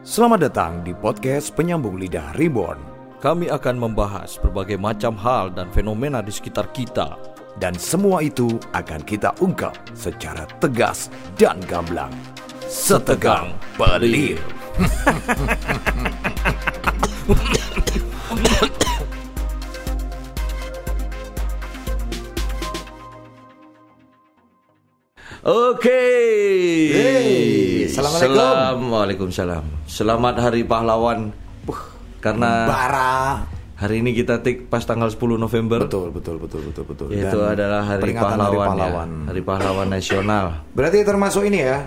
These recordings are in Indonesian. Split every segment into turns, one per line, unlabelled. Selamat datang di podcast Penyambung Lidah Reborn
Kami akan membahas berbagai macam hal dan fenomena di sekitar kita.
dan semua itu akan kita ungkap secara tegas dan gamblang. Setegang pelir.
Oke.
Yeay. Assalamualaikum.
Waalaikumsalam. Selamat Hari Pahlawan. Wah, Karena
Bara.
hari ini kita take pas tanggal 10 November.
Betul, betul, betul, betul, betul.
Yaitu
Dan
adalah Hari
peringatan
Pahlawan. ya.
Hari Pahlawan.
Hari Pahlawan Nasional.
Berarti termasuk ini ya.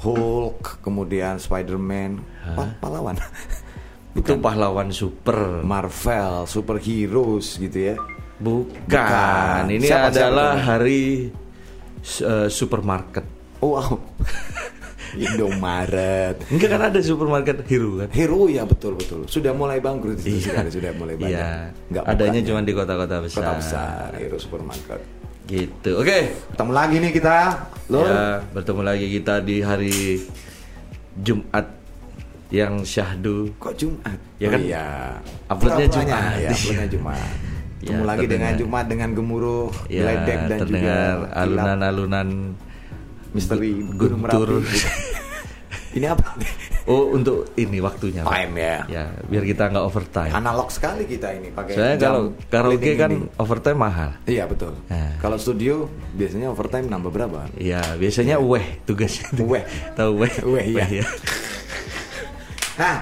Hulk, kemudian Spider-Man, pa- pahlawan.
Itu pahlawan super.
Marvel, superheroes gitu ya.
Bukan.
Bukan.
Ini
Siapa, siapa
adalah
itu?
hari eh, supermarket.
Oh, wow. Indomaret.
Enggak kan ada supermarket hero kan?
Hero ya betul betul. Sudah mulai bangkrut itu sekarang, sudah mulai banyak.
Iya.
Nggak
Adanya
bukanya.
cuma di kota-kota besar.
kota besar, Hero supermarket.
Gitu. Oke.
Ketemu lagi nih kita. Lur.
Ya, bertemu lagi kita di hari Jumat yang syahdu.
Kok Jumat?
Ya kan?
iya.
Uploadnya
Pura-puranya,
Jumat.
Ya, uploadnya Jumat.
Ya,
Ketemu lagi dengan
terdengar.
Jumat dengan gemuruh,
Ya,
geledek dan juga
terdengar
kilat
alunan-alunan
misteri
gu-
Gunung Merapi.
guntur.
Ini apa?
oh, untuk ini waktunya. Pak.
Time ya.
Ya, biar kita nggak overtime.
Analog sekali kita ini pakai.
Soalnya
Kan, jam
kalau karaoke
keliling
kan
ini.
overtime mahal.
Iya betul.
Nah.
Kalau studio biasanya overtime nambah berapa?
Ya, biasanya weh tugasnya.
Iya. Weh.
Tahu weh?
Weh, iya.
ya.
Nah,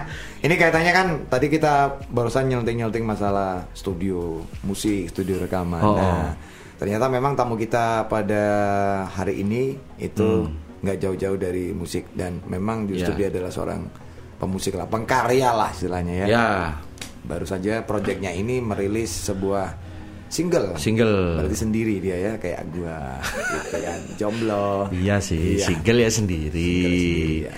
ini kaitannya kan tadi kita barusan nyelting-nyelting masalah studio musik, studio rekaman.
Oh.
Nah, ternyata memang tamu kita pada hari ini itu nggak jauh-jauh dari musik dan memang justru
Hmm.
dia
Ya.
adalah seorang pemusik lah, pengkarya lah istilahnya ya.
Ya,
Baru saja proyeknya ini merilis sebuah single.
single.
Berarti sendiri dia ya kayak gua gitu kan, jomblo.
Iya sih,
Iya.
single ya sendiri.
ya.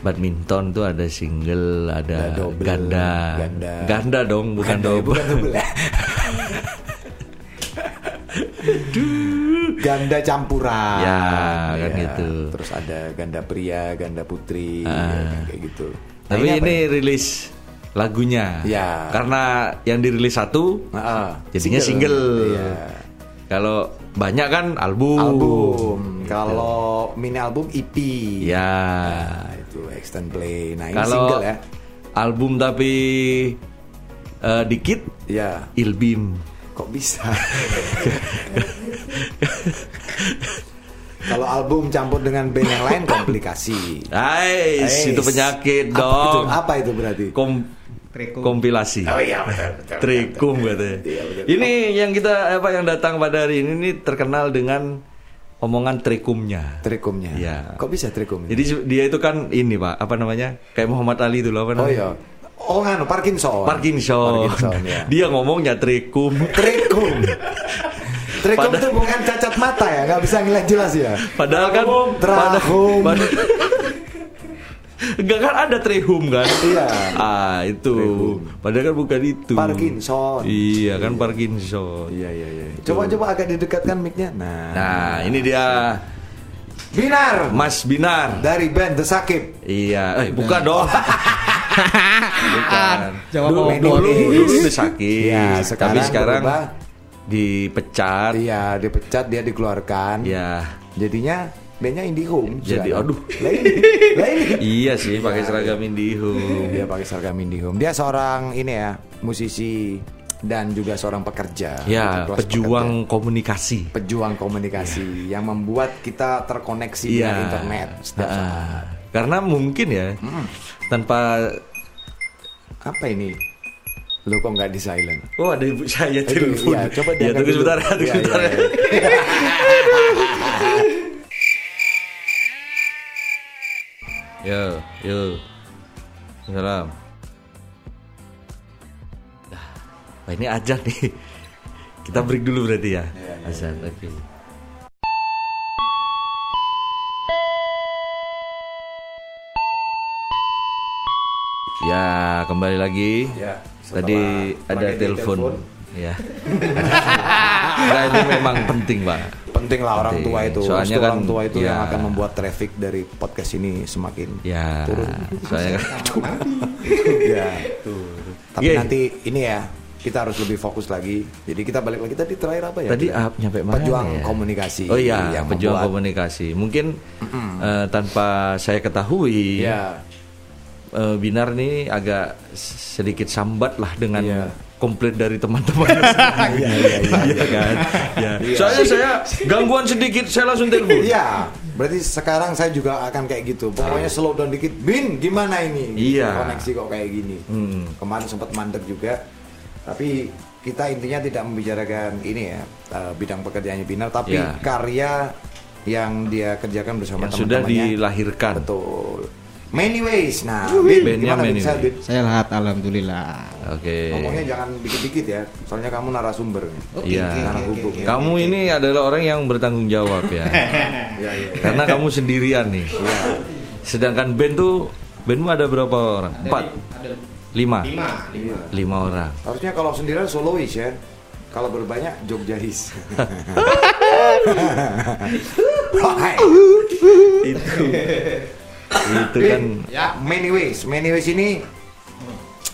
Badminton tuh ada single, ada
Ada double,
ganda.
ganda.
Ganda dong, bukan
Ganda,
double.
bukan double ya. ganda campuran.
Ya, kan gitu. Ah.
Terus ada ganda pria, ganda putri, ya, kan, kayak gitu. Nah,
Tapi
apa
ini
ya?
rilis lagunya.
Ya.
Karena yang dirilis satu,
Ah, ah.
jadinya single.
Iya.
Kalau banyak kan album.
Album. Kalau mini album EP.
Gitu. Ya.
Nah, itu extend play. Nah, ini
Kalau
single ya.
album tapi eh, dikit,
Ya.
ilbim.
Kok bisa? Kalau album campur dengan band yang lain komplikasi. Eish.
Ais, itu penyakit
Apa
dong.
itu- apa itu berarti?
Kom- kompilasi.
Oh iya betul betul.
Trikum katanya.
Iya, betul.
Ini yang kita apa yang datang pada hari ini ini terkenal dengan omongan trikumnya.
Trikumnya.
Iya.
Kok bisa trikum?
Jadi se- dia itu kan ini Pak, apa namanya? Kayak Muhammad Ali dulu apa
oh
namanya?
iya. Oh anu Parkinson.
Parkinson.
Parkinson ya.
Dia ngomongnya trikum.
Trikum. Trikum
Padahal-
itu bukan cacat mata ya, nggak bisa ngeliat jelas ya.
Padahal kan pada-
Trahum.
pada- Enggak kan ada trehum kan?
Iya.
Ah, itu. Padahal kan bukan itu.
Parkinson.
Iya, kan Parkinson.
Iya iya iya. Coba coba agak didekatkan mic-nya. Nah.
Nah, ini dia
Binar
Mas Binar.
dari band The Sakib.
Iya, eh buka dong. Bukan.
Jawab
dulu,
omongan.
dulu, dulu dia sakit.
Iya,
Tapi
sekarang
sekarang
berubah.
dipecat.
Iya, dipecat dia dikeluarkan.
Iya.
Jadinya bandnya Indihome.
Jadi,
sekarang.
aduh.
kan? Lah ini. Lah ini.
Iya sih pakai seragam Indihome.
Dia pakai seragam Indihome. Dia seorang ini ya, musisi dan juga seorang pekerja.
Ya,
Kelas
pejuang Ya. komunikasi.
pekerja. pejuang komunikasi yang membuat kita terkoneksi dengan
Iya.
internet setiap
Ah,
saat. Hmm.
Karena mungkin ya tanpa
Apa ini? Lu kok nggak di silent?
Oh ada ibu saya
Aduh,
telepon.
iya, coba
ya,
diangkat
tunggu
dulu.
sebentar, tunggu
Iya,
sebentar.
iya,
yo, yo. Salam. Nah, ini aja nih. Kita break dulu berarti ya. Azan, oke. Ya, kembali lagi.
Ya,
Tadi
setelah-
ada Ya,
setelah dia
telepon.
telepon.
ya. nah, itu memang penting pak.
Penting lah orang
Penting.
tua itu.
Soalnya
Restu orang
kan,
tua itu yang
ya.
akan membuat traffic dari podcast ini semakin
Ya,
turun.
soalnya kan Iya,
ya. Tapi
Yeay.
nanti ini ya kita harus lebih fokus lagi. Jadi kita balik lagi tadi terakhir apa ya?
tadi
Kita?
ah, nyampe mana?
Pejuang
ya?
komunikasi.
Oh iya,
yang
pejuang
membuat-
komunikasi. Mungkin eh, tanpa saya ketahui,
Iya.
eh, Binar nih agak s- sedikit sambat lah dengan
Iya.
komplain dari teman-teman.
Iya, iya, iya.
Iya kan? Ya.
Iya.
Soalnya saya gangguan sedikit, saya langsung telepon.
Iya, berarti sekarang saya juga akan kayak gitu. Pokoknya slow down dikit. Bin, gimana ini?
Iya. Hmm.
Koneksi kok kayak gini. Kemarin sempat mandek juga. Tapi kita intinya tidak membicarakan ini ya eh, bidang pekerjaannya Binar, tapi
Iya.
karya yang dia kerjakan bersama
Yang sudah
teman-temannya.
dilahirkan.
Betul. Many ways. Nah, Bin,
Bandnya
gimana Bin?
Many
Saya, Bin?
Ways.
Saya lahat alhamdulillah.
Oke.
Ngomongnya jangan dikit-dikit ya, soalnya kamu narasumber.
Iya.
Narahubung.
Kamu ini adalah orang yang bertanggung jawab ya.
Iya, iya.
Karena kamu sendirian nih. Sedangkan band tuh bandmu ada berapa orang? Empat,
Ada
lima,
lima.
Iya.
lima orang.
Harusnya kalau sendirian solois ya. Kalau berbanyak Jogjahis. Hai.
Itu, itu kan.
Ya.
Many ways, many ways ini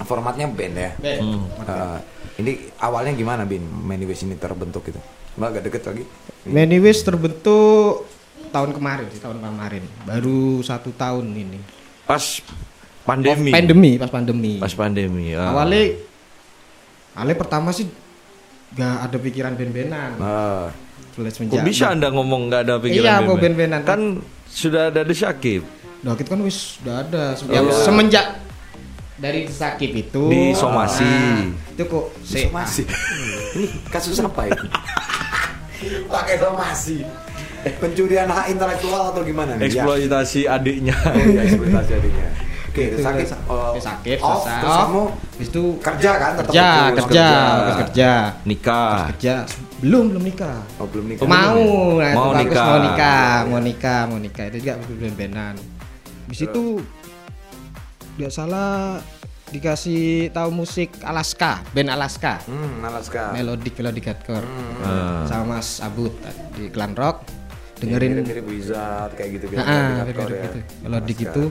formatnya band ya.
Be.
Eh, ini awalnya gimana Bin? Many ways ini terbentuk gitu. Mbak agak deket lagi.
Many Ways terbentuk tahun kemarin sih tahun kemarin. Baru satu tahun ini.
Pas pandemi.
Pandemi pas pandemi.
Pas pandemi. ah.
Awalnya, awalnya pertama sih gak ada pikiran ben-benan.
Eh,
Terus
Ah. Kok
semenjak-
bisa anda ngomong nggak ada pikiran
Iya,
band-band?
mau band-bandan.
Kan sudah ada The Syakib
Nah, kita kan wis udah ada semenjak,
Iya.
semenjak dari sakit itu
Di somasi.
Nah, itu kok se- ah,
somasi. ini kasus apa ini? Pakai somasi. Pencurian hak intelektual atau gimana nih? Ya.
eksploitasi adiknya.
Oh iya, eksploitasi adiknya. Oke,
Itu
sakit,
Oh.
udah
eh,
Iya, sakit, sakit
off,
selesai.
terus kamu
Habis itu
kerja kan? tetap
kerja,
fokus.
kerja,
kerja.
fokus kerja.
Nikah.
Kerja belum belum nikah.
Oh, belum nikah.
mau, nah,
Mau
itu bagus,
nikah.
mau nikah, mau nikah, mau nikah. Itu juga belum benan. Habis itu nggak salah dikasih tahu musik Alaska, band Alaska.
Hmm, malas kak.
Melodic melodic hardcore.
Ah.
Sama Mas Abud di Clan Rock dengerin
mirip wizard kayak gitu gitu.
Nah, gitu. Kalau di gitu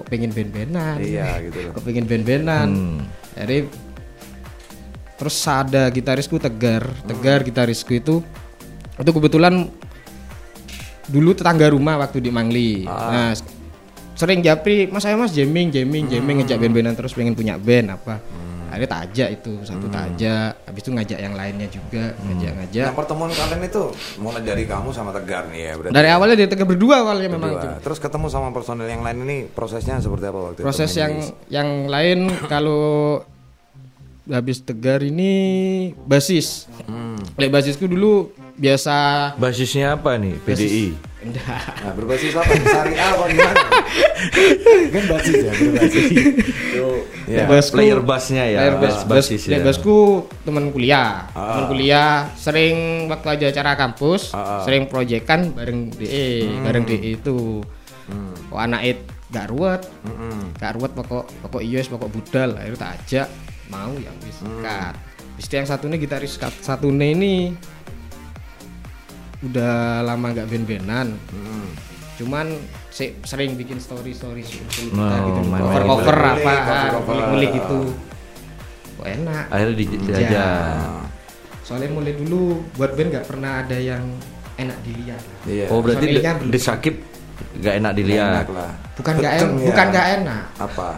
kok pengen ben-benan.
Iya, gitu loh. Hmm.
Kok pengen ben-benan. Jadi terus ada gitarisku Tegar.
Hmm.
Tegar gitarisku itu itu kebetulan dulu tetangga rumah waktu di Mangli.
Ah.
Nah, s- sering japri, Mas saya Mas jamming, jamming, jamming
Hmm.
ngejak ben-benan terus pengen punya band apa. Akhirnya tak ajak itu, satu
Hmm.
tak ajak, habis itu ngajak yang lainnya juga, ngajak-ngajak.
Nah, pertemuan kalian itu mulai dari kamu sama Tegar nih ya berarti.
Dari awalnya dia Tegar berdua awalnya memang
Berdua.
itu.
Terus ketemu sama personel yang lain ini prosesnya seperti apa waktu itu?
proses yang yang lain kalau habis tegar ini basis.
Hmm.
Oleh basisku dulu biasa
Basisnya apa nih? PDI.
enggak.
Nah, berbasis apa? Syariah apa gimana? kan basis ya, berbasis.
Ya,
Iya. Basku-
player bassnya ya.
Player bass,
bass-
bass-
basis ya.
player
Ah.
bassku teman kuliah. Teman kuliah sering waktu aja acara kampus, sering proyekan bareng DE,
Hmm.
bareng DE itu. Kok anak it gak ruwet.
Hmm.
Gak ruwet pokok pokok IOS, pokok budal, akhirnya tak ajak mau yang wis
Hmm.
kat. Habis itu yang satunya gitaris kat- satunya ini udah lama gak ben-benan. Cuman se- sering bikin story-story gitu,
Oh, main-main.
cover-cover apa,
Cover-cover.
kulik-kulik gitu. Kok enak.
Akhirnya dijajah.
Nah,
Soalnya mulai dulu buat band nggak pernah ada yang enak dilihat.
Iya.
Oh berarti
Soalnya kan-
The Syakib nggak enak dilihat.
Enak lah.
Bukan nggak
Beceng
en-
ya.
bukan nggak enak.
Apa?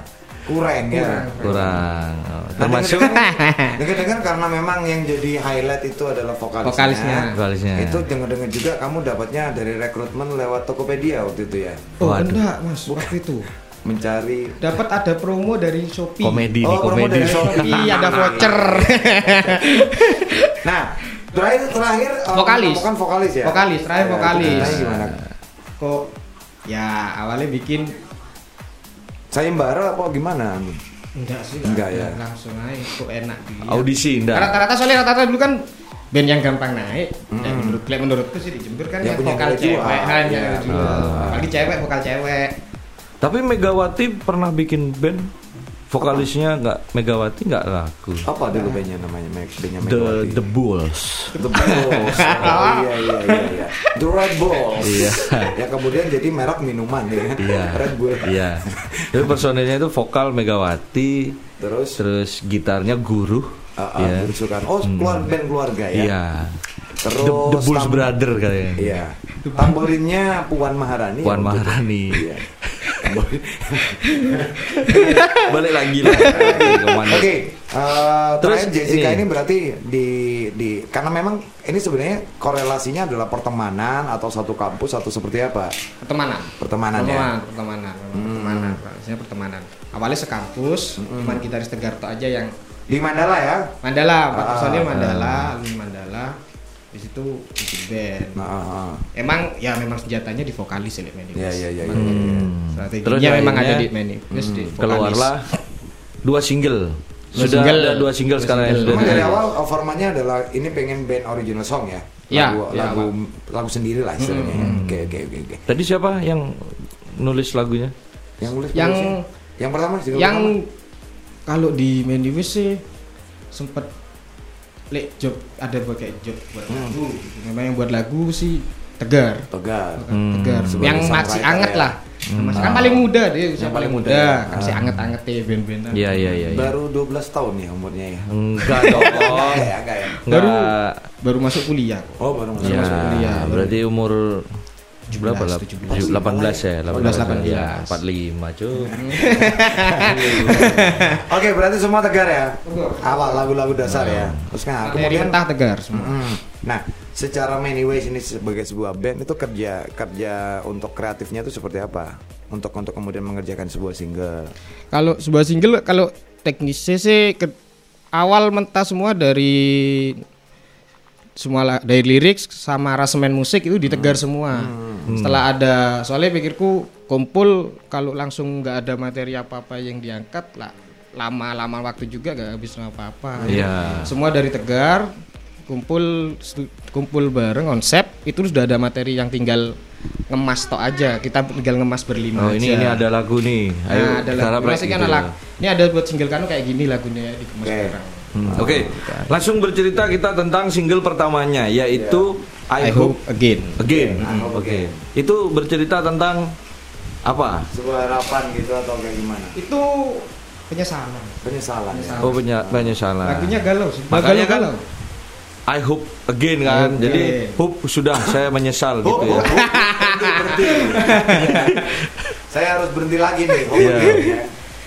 Kurang ya.
Kurang. Oh,
Nah,
Termasuk
denger-denger- Denger-denger karena memang yang jadi highlight itu adalah vokalisnya.
Vokalisnya.
Vokalisnya.
Itu denger-denger juga kamu dapatnya dari rekrutmen lewat Tokopedia waktu itu ya.
Oh
Waduh.
enggak mas, waktu itu
Mencari
dapat ada promo dari Shopee.
komedi nih,
Oh, promo
komedi.
dari Shopee.
Shopee Iya, ada voucher.
Nah, terakhir terakhir eh,
Vokalis.
Kan vokalis ya.
Vokalis, terakhir
Ya,
vokalis.
ceritanya gimana?
Kok ya awalnya bikin
Sayembara apa gimana?
enggak sih
Enggak ya.
langsung aja kok enak dilihat.
Audisi enggak.
Rata-rata soalnya rata-rata dulu kan band yang gampang naik. Dan menurut klien menurutku sih di Jember kan
Ya,
yang
Hmm. punya
vokal
kue
cewek,
jual.
kan
Ya.
yang jual. Apalagi cewek vokal cewek.
Tapi Megawati pernah bikin band Vokalisnya nggak Megawati nggak laku.
Apa
Nah.
dulu bandnya namanya? Meg- Bandnya
The
Megawati.
The Bulls.
The Balls. Oh, iya, iya, iya, iya. The Red Balls.
Iya.
ya kemudian jadi merek minuman ya. kan?
Iya.
Red Bull.
Iya. Jadi personilnya itu vokal Megawati,
Terus
terus gitarnya Guru.
uh, uh,
Iya.
berusukan. Oh, keluar band keluarga ya.
Iya.
Terus
The, The Bulls
tam-
Brother kayaknya.
Iya. Tamborinnya Puan Maharani.
Puan
ya, betul.
Maharani.
Iya.
Balik lagi lah. Kemana?
Oke, eh,
Terus
terakhir Jessica
ini.
ini. berarti di di karena memang ini sebenarnya korelasinya adalah pertemanan atau satu kampus atau seperti apa
pertemanan
pertemanan
pertemanan
ya.
pertemanan memang pertemanan harusnya pertemanan awalnya sekampus
Hmm.
cuman gitaris tegar Tok aja yang
Di Mandala ya.
Mandala empat
Ah,
personil Mandala alumni Mandala di situ bikin band
Nah, ah, ah.
emang ya memang senjatanya di vokalis ya Mandy
Iya, iya, Hmm. iya,
Emang
Hmm.
iya,
strateginya
Terus
memang ada
akhirnya,
di Mandy Plus di vokalis.
Hmm. Keluarlah dua single.
Dua
Sudah
single.
ada dua single
Dua
sekarang. ya.
Emang
yang
single.
sudah
dari
rilis.
awal eh, formatnya adalah ini pengen band original song ya.
Iya,
Lagu
iya,
lagu, lagu sendiri lah istilahnya. ya. Oke, oke, oke, oke.
Tadi siapa yang nulis lagunya?
Yang nulis
Yang-
nulis ya? yang pertama single
yang
pertama.
kalau di Mandy Wish sih sempet lek job ada buat kayak job buat lagu gitu. memang yang buat lagu sih tegar
tegar.
tegar
Sebagai
Hmm. yang masih
songwriter
anget
ya.
lah masih kan paling muda dia usia paling
paling
muda,
muda, ya.
masih anget-anget ya band-band
Iya iya
Ya,
iya. iya.
Baru 12 tahun ya umurnya ya.
Enggak dong.
Enggak ya, enggak ya.
baru
Enggak.
baru masuk kuliah kok
Oh, baru masuk
Ya,
masuk kuliah.
berarti umur berapa lah?
17.
18 ya,
18.
Ya, 45
Nah,
cuy.
Oke, berarti semua tegar ya. Awal lagu-lagu dasar ya. Terus nah,
kemudian
kemudian
mentah tegar semua
Mm-mm. Nah, secara many ways ini sebagai sebuah band itu kerja kerja untuk kreatifnya itu seperti apa? Untuk untuk kemudian mengerjakan sebuah single.
kalau sebuah single kalau teknisnya sih ke- awal mentah semua dari semua la- dari lirik sama rasemen musik itu ditegar
Hmm.
semua setelah ada soalnya pikirku kumpul kalau langsung nggak ada materi apa apa yang diangkat lah lama-lama waktu juga nggak habis apa apa
Iya.
semua dari tegar kumpul stu- kumpul bareng konsep itu sudah ada materi yang tinggal ngemas tok aja kita tinggal ngemas berlima
Oh, ini
aja.
ini ada lagu nih. Ayo
Nah, ada
kita
lagu.
rap-rap
Masih kan
gitu
ada
ya.
lagu. Ini ada buat single kamu kayak gini lagunya ya, di Kemas
Oke.
Barang.
Hmm, Oke, langsung bercerita kita tentang single pertamanya yaitu
Ya. I,
I,
hope
Hope
again.
Again.
I Hope
Oke.
Again.
Itu bercerita tentang apa?
Sebuah harapan gitu atau kayak gimana?
Itu penyesalan.
Penyesalan. Ya.
Oh, penya- penyesalan.
Lagunya galau sih.
Makanya
galau, galau.
kan- I hope again kan.
Hope
Jadi
again.
hope sudah saya
Oh,
menyesal gitu
oh, oh,
ya.
berhenti, berhenti. Iya. Saya harus berhenti lagi nih. Oh,
Iya.
iya.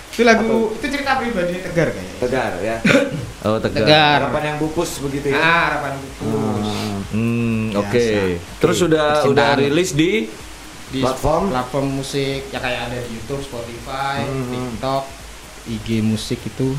Itu lagu itu cerita pribadi tegar kayaknya.
Tegar ya.
Oh, tegar.
Tegar.
Harapan yang pupus begitu ya.
Ah, harapan itu
Hmm, oke.
Biasa.
Terus sudah
Percintaan.
udah rilis di
di
Platform?
platform musik ya kayak ada di YouTube, Spotify, TikTok, IG musik itu,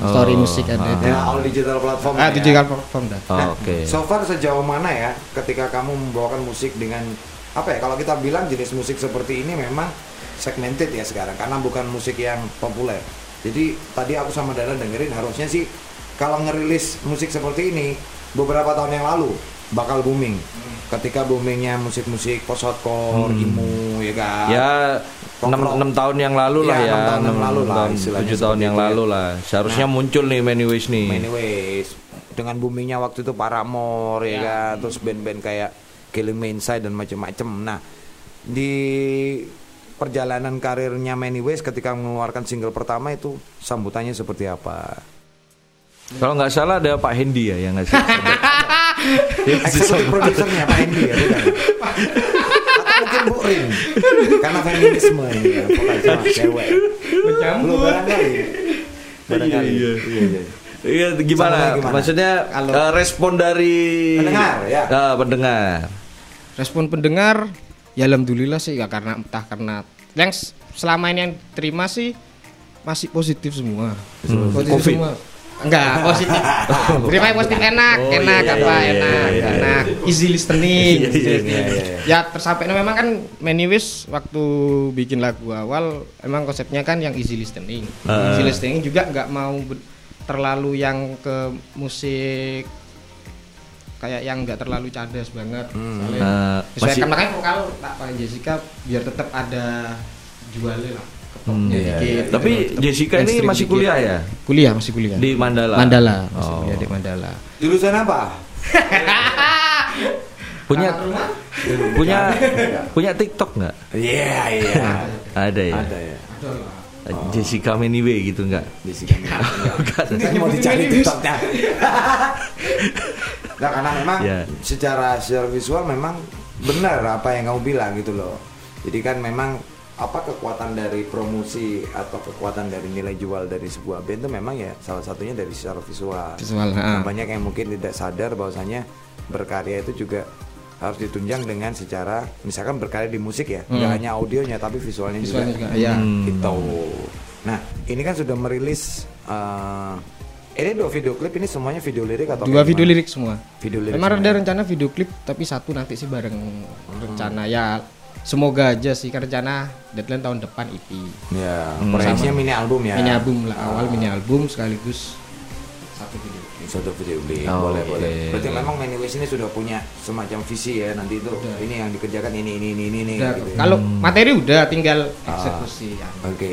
story
Oh,
musik ada.
ah.
itu.
hmm, Ya, all digital platform.
Ah,
ya.
itu juga platform dah.
Oh,
Nah,
Oke.
So far sejauh mana ya ketika kamu membawakan musik dengan apa ya kalau kita bilang jenis musik seperti ini memang segmented ya sekarang karena bukan musik yang populer. Jadi tadi aku sama Dara dengerin harusnya sih kalau ngerilis musik seperti ini beberapa tahun yang lalu bakal booming.
Hmm.
Ketika boomingnya musik-musik post hardcore, emo ya kan.
Ya 6,
Rock-rock.
tahun yang lalu lah
Iya,
ya.
enam tahun yang
Enam-
lalu lah,
tahun,
istilahnya
tujuh tahun
seperti
yang
itu ya.
lalu lah. Seharusnya muncul nih Many Ways nih.
Anyways, dengan boomingnya waktu itu Paramore
Iya.
ya, kan, terus band-band kayak Killing Me Inside dan macam-macam. Nah, di perjalanan karirnya Many Ways ketika mengeluarkan single pertama itu sambutannya seperti apa?
Kalau nggak salah ada Pak Hendy ya yang ngasih. Ya, ngasih
Eksekutif
sama-
Eh, produsernya Pak Hendy ya, bukan? Atau mungkin Bu Rin karena feminisme ini ya, bukan sama cewek. Belum barangkali. Barangkali.
Iya, Iya
Sama
gimana?
gimana?
Maksudnya eh, respon dari
Pendengar, ya.
Eh, pendengar.
respon pendengar ya alhamdulillah sih ya karena entah karena yang s- selama ini yang terima sih masih positif semua positif
Covid?
semua enggak positif terima yang positif enak
Oh,
enak
iya,
apa
iya,
enak
iya, iya,
enak easy listening
Iya, iya,
easy listening.
iya,
ya tersampainya memang kan Many Wish waktu bikin lagu awal emang konsepnya kan yang easy listening easy listening juga nggak mau ber- terlalu yang ke musik kayak yang nggak terlalu cadas banget soalnya
Nah,
Sesuaikan
masih-
makanya kalau tak pakai Jessica biar tetap ada jualnya lah
Hmm,
Ya,
iya,
dikit,
iya.
gitu.
Tapi Jessica ini
Mainstream
masih
dikit.
kuliah ya?
Kuliah masih kuliah.
Di Mandala?
Mandala, masih
Oh.
kuliah di Mandala.
Jurusan apa?
Punya punya punya TikTok nggak?
Iya, iya.
Ada ya.
Ada ya.
Jessica Maniwe gitu nggak?
Jessica Mila.
Bukan.
Kan mau dicari TikToknya. Nah, karena memang
Ya.
secara secara visual memang benar apa yang kamu bilang gitu loh. Jadi kan memang apa kekuatan dari promosi atau kekuatan dari nilai jual dari sebuah band itu memang ya salah satunya dari secara visual.
Visual,
Nah,
ha.
Banyak yang mungkin tidak sadar bahwasanya berkarya itu juga harus ditunjang dengan secara misalkan berkarya di musik ya, nggak hanya audionya tapi visualnya,
Hmm. Visualnya
juga.
juga, ya.
Gitu. Nah, ini kan sudah merilis eh, ini dua video klip ini semuanya video lirik atau
Dua
kayak
video
gimana?
lirik semua.
Video lirik
Memang
semua,
ada rencana video klip tapi satu nanti sih bareng
Hmm.
rencana ya. Semoga aja sih karena rencana deadline tahun depan EP.
Ya, proyeksinya mini album ya.
Hmm, Mini album lah awal mini album sekaligus satu video.
Satu video klip.
Oh,
boleh,
oke.
boleh. Berarti memang Many Ways ini sudah punya semacam visi ya nanti itu. Ini yang dikerjakan ini ini ini ini ini
Udah,
gitu ya.
Kalau materi udah tinggal
Ah.
eksekusi ya.
Oke,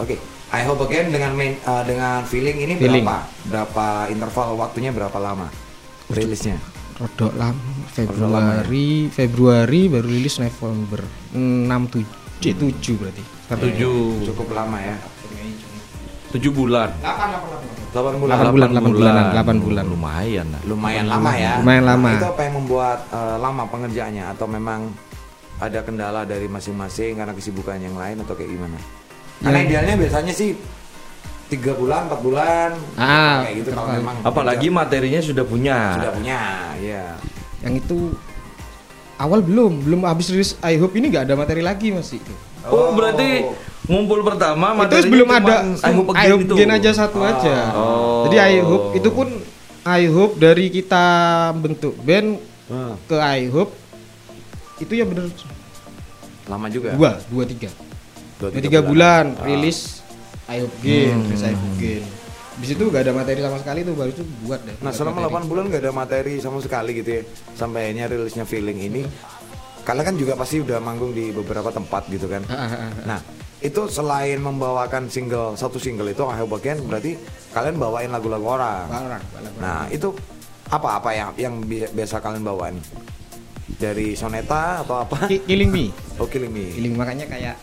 oke. I hope again dengan main, eh, dengan feeling ini
Feeling.
berapa? Berapa interval waktunya berapa lama? Rilisnya.
Rodok lama Februari Februari baru rilis November 6 7 7 berarti.
Tujuh
Cukup lama ya.
tujuh bulan.
8 bulan.
Delapan bulan, delapan bulanan, delapan bulan.
Lumayan lah.
Lumayan lama ya.
Lumayan lama.
Nah, itu apa yang membuat eh, lama pengerjaannya atau memang ada kendala dari masing-masing karena kesibukan yang lain atau kayak gimana? Karena
Iya.
idealnya biasanya sih tiga bulan, empat bulan,
Ah,
kayak gitu kalau
betul.
memang
Apalagi materinya sudah punya.
sudah punya, ya.
Yang itu awal belum, belum habis rilis I Hope ini nggak ada materi lagi masih itu.
Oh, berarti ngumpul pertama
Itu
materinya
belum
cuman
ada
I hope again itu.
Gen aja satu aja.
Oh.
Jadi I Hope itu pun I Hope dari kita bentuk band
Ah.
Hmm.
ke I Hope itu ya bener
Lama juga.
dua, dua tiga.
Dua,
Dua tiga bulan rilis I Hope Game, rilis I Hope Game. Di situ gak ada materi sama sekali tuh baru itu buat deh.
Nah,
buat
selama
materi.
8 bulan nggak ada materi sama sekali gitu ya. Sampai akhirnya rilisnya feeling ini. Kalian kan juga pasti udah manggung di beberapa tempat gitu kan.
Ah, ah, ah.
Nah, itu selain membawakan single satu single itu I Hope Again berarti kalian bawain lagu-lagu orang.
Orang, orang.
Nah, itu apa-apa yang yang bi- biasa kalian bawain? Dari soneta atau apa?
Ki- Killing Me.
Oh, Killing Me.
Killing makanya kayak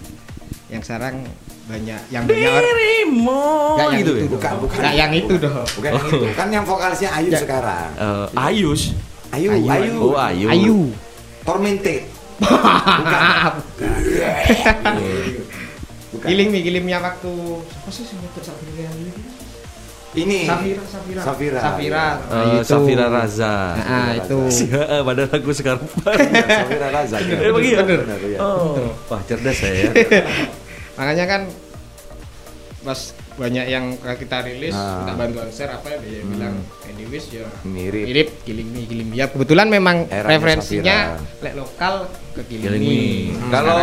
yang sekarang banyak yang banyak orang
Dirimu
Nggak yang
gitu
itu
ya.
dong.
Bukan, bukan.
Nggak yang itu dong.
Bukan yang
Oh.
itu. Kan yang vokalisnya Ayu sekarang.
Eh, Ayus.
Ayu, Ayu.
Oh, Ayu.
Ya. Ayu.
Tormented. Bukan.
Killing Me, Killing Me yang waktu apa sih sih itu Safira?
Ini.
Safira, Safira.
Eh, Safira.
Safira. Nah,
Eh,
itu.
Safira Raza.
Nah, itu.
Si, eh, Padahal aku sekarang
Iya, Safira Raza.
Emang iya?
Bener, bener, iya.
Oh, wah cerdas saya.
Makanya kan pas banyak yang kita rilis
Ah. Hmm.
minta bantuan share apa ya dia bilang anyways ya
Mirip.
mirip Killing Me, Killing Me. Ya kebetulan memang
Eranya
referensinya
Safira.
lek lokal ke Hmm. Killing,
Killing
Me.
me.
Hmm.
Kalau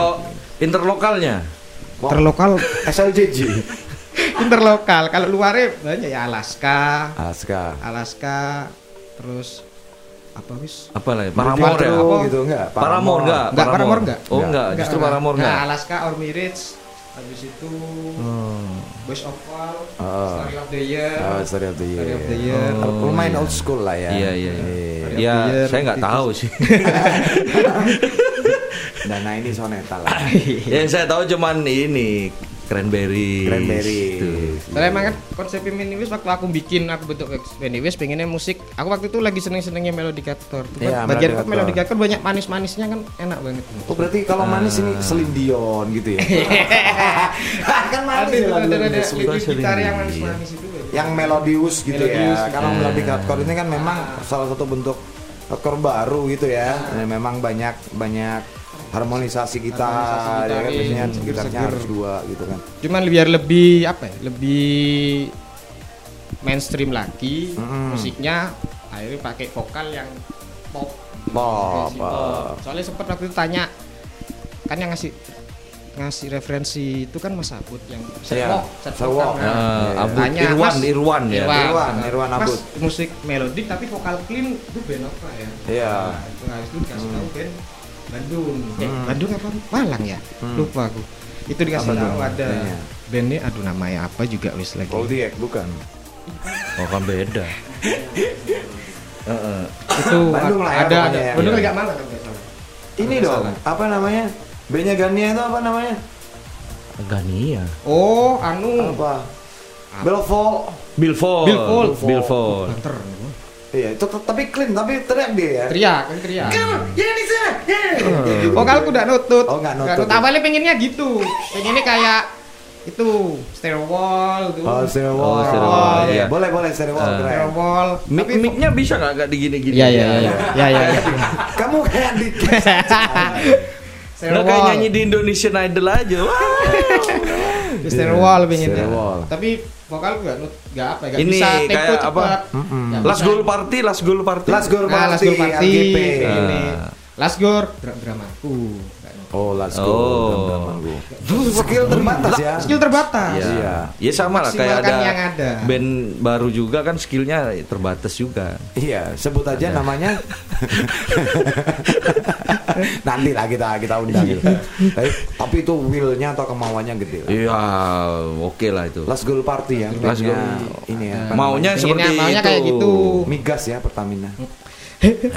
interlokalnya,
Wow.
Terlokal
SLJJ.
interlokal kalau luarnya banyak ya Alaska
Aska.
Alaska terus apa wis
apa lah? ya? Paramore ya?
Jatuh
Apa?
gitu enggak?
Paramore enggak?
enggak Paramore enggak
Oh enggak, justru Paramore enggak.
Alaska or Mirage habis itu Boys of Fall
Oh.
Story of the Year
Oh, Story of the Year.
Story of the Year
Oh,
Lumayan
iya.
old school lah ya.
Iya, iya,
Iya.
iya. Ya,
Biar
saya nggak
tikus.
tahu sih.
Dan nah ini soneta lah.
Yang Ya, saya tahu cuman ini cranberry. Gitu.
Cranberry.
Soalnya emang kan konsep Miniwis waktu aku bikin aku bentuk Miniwis pengennya musik aku waktu itu lagi seneng-senengnya Melody Gator
Iya,
yeah, bagian
Melodicator.
Melody Gator banyak manis-manisnya kan enak banget
Oh berarti kalau manis ini Celine Dion gitu ya? kan
ada
manis
itu
lagu
ada ada
manis.
lirik gitar yang manis-manis itu banyak.
Yang melodius gitu
Melodius,
ya. Karena melodic hardcore ini kan memang salah satu bentuk hardcore baru gitu ya. Dan memang banyak banyak harmonisasi gitar, ya kan
Harmonisasi gitarin,
biasanya
seger-seger.
gitarnya harus dua gitu kan.
cuman biar lebih apa ya lebih mainstream lagi musiknya akhirnya pakai vokal yang pop
Pop, Oh,
Versi
pop.
soalnya sempat waktu itu tanya kan yang ngasih ngasih referensi itu kan Mas Abud yang
Iya,
Serwok,
Serwok.
Serwok
Eh,
kan.
Abud
Tanya,
Irwan,
Mas.
Irwan ya.
Irwan, Irwan
Mas,
Abud.
musik melodik tapi vokal clean itu band apa ya?
Iya. Hmm.
Nah, itu harus itu dikasih tahu band Bandung. Eh, Bandung apa? Malang ya? Lupa aku. itu dikasih
Hmm. Apa
tahu
tuh?
ada
Iya.
bandnya aduh namanya apa juga wis lagi
Zodiac bukan.
Oh kan beda. Heeh.
itu
Bandung lah ya,
ada
pokoknya
ada
ya.
Bandung
Iya.
agak malang kan, nggak salah.
Ini
Nggak
dong,
salah.
apa namanya? B-nya Gania itu apa namanya?
Gania.
oh anu
Apa? Belvo.
Billfold.
Billfold.
Billfold.
Banter.
Iya, itu t- tapi clean, tapi teriak dia ya.
teriak kan teriak
Ya di sana. ya.
vokalku udah nutut
Oh, nggak nutut.
nggak awalnya pengennya gitu pengennya kayak itu stairwall gitu. tuh
Oh, stereo
Oh,
wall.
stereo
wall,
Iya,
iya.
Boleh, boleh stereo wall.
Ah.
keren.
stairwall
Mik miknya bisa nggak nggak
gitu
digini-gini?
ya.
iya iya iya iya iya iya.
Kamu kayak di
Nggak kayak nyanyi di Indonesian Idol aja. Wah.
di stairwall pengennya
Iya, Stairwall.
tapi vokalku nggak nut nggak apa ya, nggak
Ini
bisa tempo
kayak apa?
cepat Nggak
Last
Nah, bisa.
goal party, last goal party.
Last Goal
nah last
Party,
goal party
LGP.
kayak gini.
Ah.
last goal dra- dramaku nggak nut.
Oh, Last
Goal, Gambang
Skill terbatas ya.
skill terbatas
Iya. Ya sama lah kayak ada,
Maksimalkan yang ada.
band baru juga kan skillnya terbatas juga.
Iya, sebut aja namanya. Nanti lah kita kita undang. tapi, tapi itu willnya atau kemauannya gede lah.
Iya, oke lah itu.
Last Goal Party ya.
Last
punya
Goal. Iya.
Ini ya. apa
Maunya
Pengennya-
seperti
maunya
itu.
kayak gitu.
namanya? migas ya Pertamina.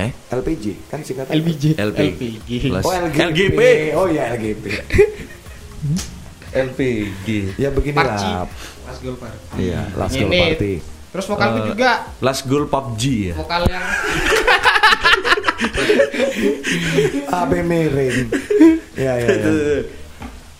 Eh?
LPG kan singkatan.
LBJ
LP.
LPG
Last-
Oh LGP.
LGP.
Oh iya LGP.
LPG.
Ya
Parci
beginilah.
last goal party
Iya.
Last Goal
Ini.
Party.
terus vokalku
Eh,
juga
Last goal PUBG ya.
vokal yang
AB Merin. Ya ya. ya.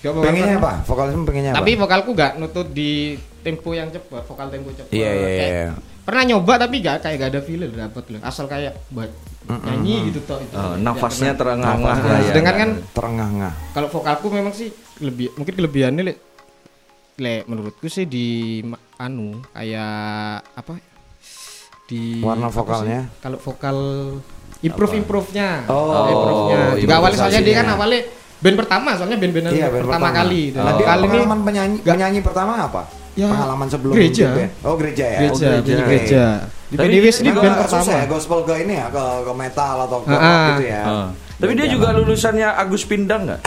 Gak apa-apa.
Pengennya apa? Vokalisme pengennya apa?
Tapi vokalku gak nutut di tempo yang cepat, vokal tempo cepat.
Iya, iya,
Kayak-
iya.
Pernah nyoba tapi gak kayak gak ada feel dapet loh. Asal kayak buat nyanyi gitu toh itu.
Oh,
Eh, nafasnya
Nggak
terengah-engah
pernah.
lah ya.
Sedangkan kan
terengah-engah.
kalau vokalku memang sih lebih mungkin kelebihannya le, le menurutku sih di ma- anu kayak apa di
Warna
apa sih?
vokalnya?
kalau vokal improve improve-nya
Oh,
improve-nya juga awalnya soalnya dia kan
improvisasinya. Iya,
awalnya band pertama soalnya band-band
band
Nah, pertama, kali dan
Nah, dia
kali ini
pengalaman penyanyi
Nggak-
penyanyi pertama apa?
Ya,
pengalaman sebelum
gereja.
di band. Oh, gereja ya.
gereja,
Oh,
gereja.
gereja.
gereja. Di
Tapi
PDW
dia
ini
Ini
band
agak
pertama.
susah ya gospel ke ini ya ke, ke metal atau ke
Ah,
rock
ah.
gitu ya.
Eh. Tapi dia juga lulusannya Agus Pindang nggak?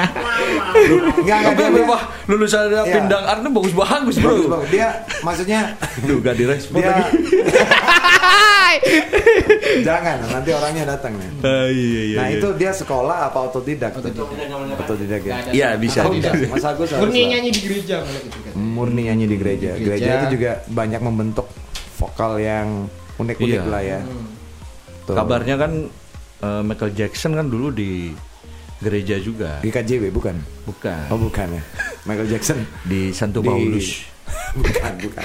Enggak enggak
Tapi
Iya, dia, dia,
wah lulusan
Iya.
Pindang Arna bagus bagus
bagus,
bro.
bagus. dia maksudnya
Aduh gak direspon
dia
lagi.
jangan nanti orangnya datang nih.
Ah, iya iya.
Nah,
iya.
itu dia sekolah apa otodidak? Otodidak. Otodidak ya.
Iya bisa.
Tahu
bisa.
nggak? Mas Agus harus
Murni
lah.
nyanyi di gereja malah gitu kan.
murni nyanyi di gereja.
Gereja.
Gereja itu juga banyak membentuk vokal yang unik-unik
Iya.
lah ya. Tuh.
Kabarnya kan eh, Michael Jackson kan dulu di gereja juga.
di KJW bukan?
Bukan.
Oh bukan ya. Michael Jackson
Di Santo
di-
Paulus.
bukan, bukan.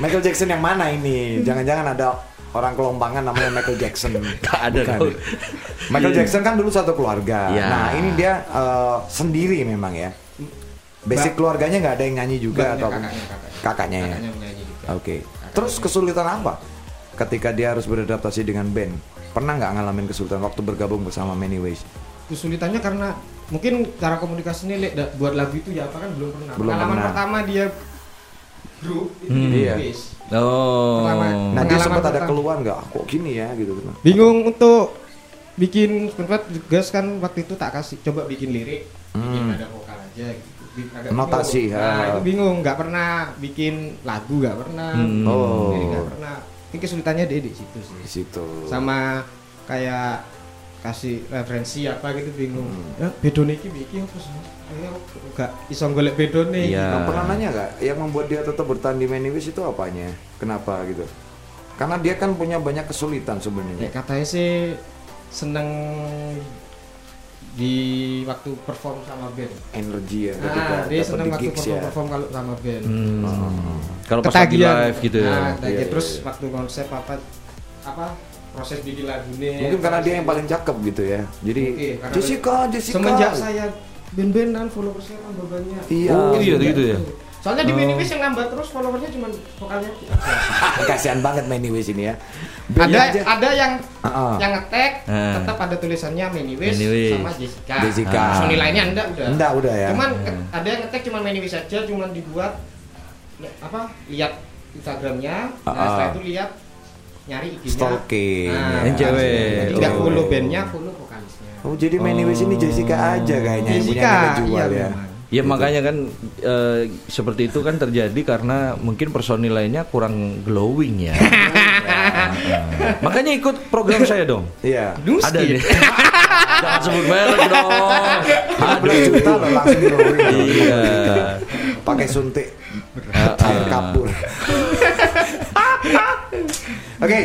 Michael Jackson yang mana ini? Jangan-jangan ada orang kelompangan namanya Michael Jackson.
Nggak ada
Bukan.
dong.
Michael
Iya.
Jackson kan dulu satu keluarga.
Iya.
Nah, ini dia eh, sendiri memang ya. Basic keluarganya nggak ada yang nyanyi juga
Mbaknya,
atau
kakaknya, kakaknya.
kakaknya ya.
Kakaknya menyanyi juga.
Oke. Terus kesulitan apa ketika dia harus beradaptasi dengan band? Pernah nggak ngalamin kesulitan waktu bergabung bersama Many Ways?
Kesulitannya karena mungkin cara komunikasinya Lek, da- buat lagu itu ya apa kan belum pernah.
Belum
Pengalaman
pernah.
pertama dia grup itu
Hmm.
di
Iya.
base.
Oh.
Pertama.
Nah, dia
Pengalaman
sempat ada
pertama.
keluhan nggak? Ah, Kok gini ya gitu.
Bingung untuk bikin sempat juga kan waktu itu tak kasih coba bikin lirik, bikin
Hmm.
ada vokal aja gitu. Bi- agak
Notasi,
bingung.
ha.
Nah, itu bingung, nggak pernah bikin lagu, nggak pernah.
Hmm.
Oh.
Lirik nggak pernah. Ini kesulitannya dia di situ sih.
Di situ.
sama kayak kasih referensi apa gitu bingung
Hmm.
ya bedone iki iki apa sih Ya, gak iso golek bedone iki.
Iya.
Nah, pernah nanya nggak yang membuat dia tetap bertahan di Many Ways itu apanya? Kenapa gitu? Karena dia kan punya banyak kesulitan
Nek
sebenarnya.
katanya sih seneng di waktu perform sama band
Energi ya ketika
nah dia
dapat
seneng
di
waktu
gigs ya.
perform-perform kalau sama band
Hmm. Kalau pas lagi
Ketagihan.
live gitu ya.
Nah,
Iya,
ketagihan.
iya,
terus
iya.
waktu konsep apa apa proses bikin lagunya
Mungkin karena dia yang paling cakep gitu ya. Jadi
Mungkin, karena-
Jessica, Jessica.
semenjak saya band-bandan followersnya tambah banyak
Iya. Eh.
Oh, iya gitu ya.
Soalnya di Minimis yang nambah terus followernya cuma vokalnya.
Kasihan banget Many Ways ini ya.
ada
Beda aja.
ada yang
Ah, ah.
yang ngetek
Ah.
tetap ada tulisannya Minimis
Minimis.
sama Jessica.
Jessica.
Terus nilainya anda udah.
Enggak udah ya.
Cuman
Eh.
ke- ada yang ngetek cuma Minimis aja cuma dibuat li- apa? Lihat Instagramnya, nah
Ah, ah.
setelah itu lihat nyari IG-nya.
Stalking.
Nah,
Yang cewek.
Jadi nggak
Oh.
follow bandnya, follow vokalisnya.
Oh jadi Manny West ini Jessica aja kayaknya yang punya
Jessica,
nilai jual
iya
ya.
memang.
Ya makanya kan eh, seperti itu kan terjadi karena mungkin personil lainnya kurang glowing ya. Nah, makanya ikut program saya dong.
Iya.
Ada nih. Jangan sebut merek dong.
15 juta loh langsung diorin.
Iya. Ah,
Pakai suntik air kapur. Oke.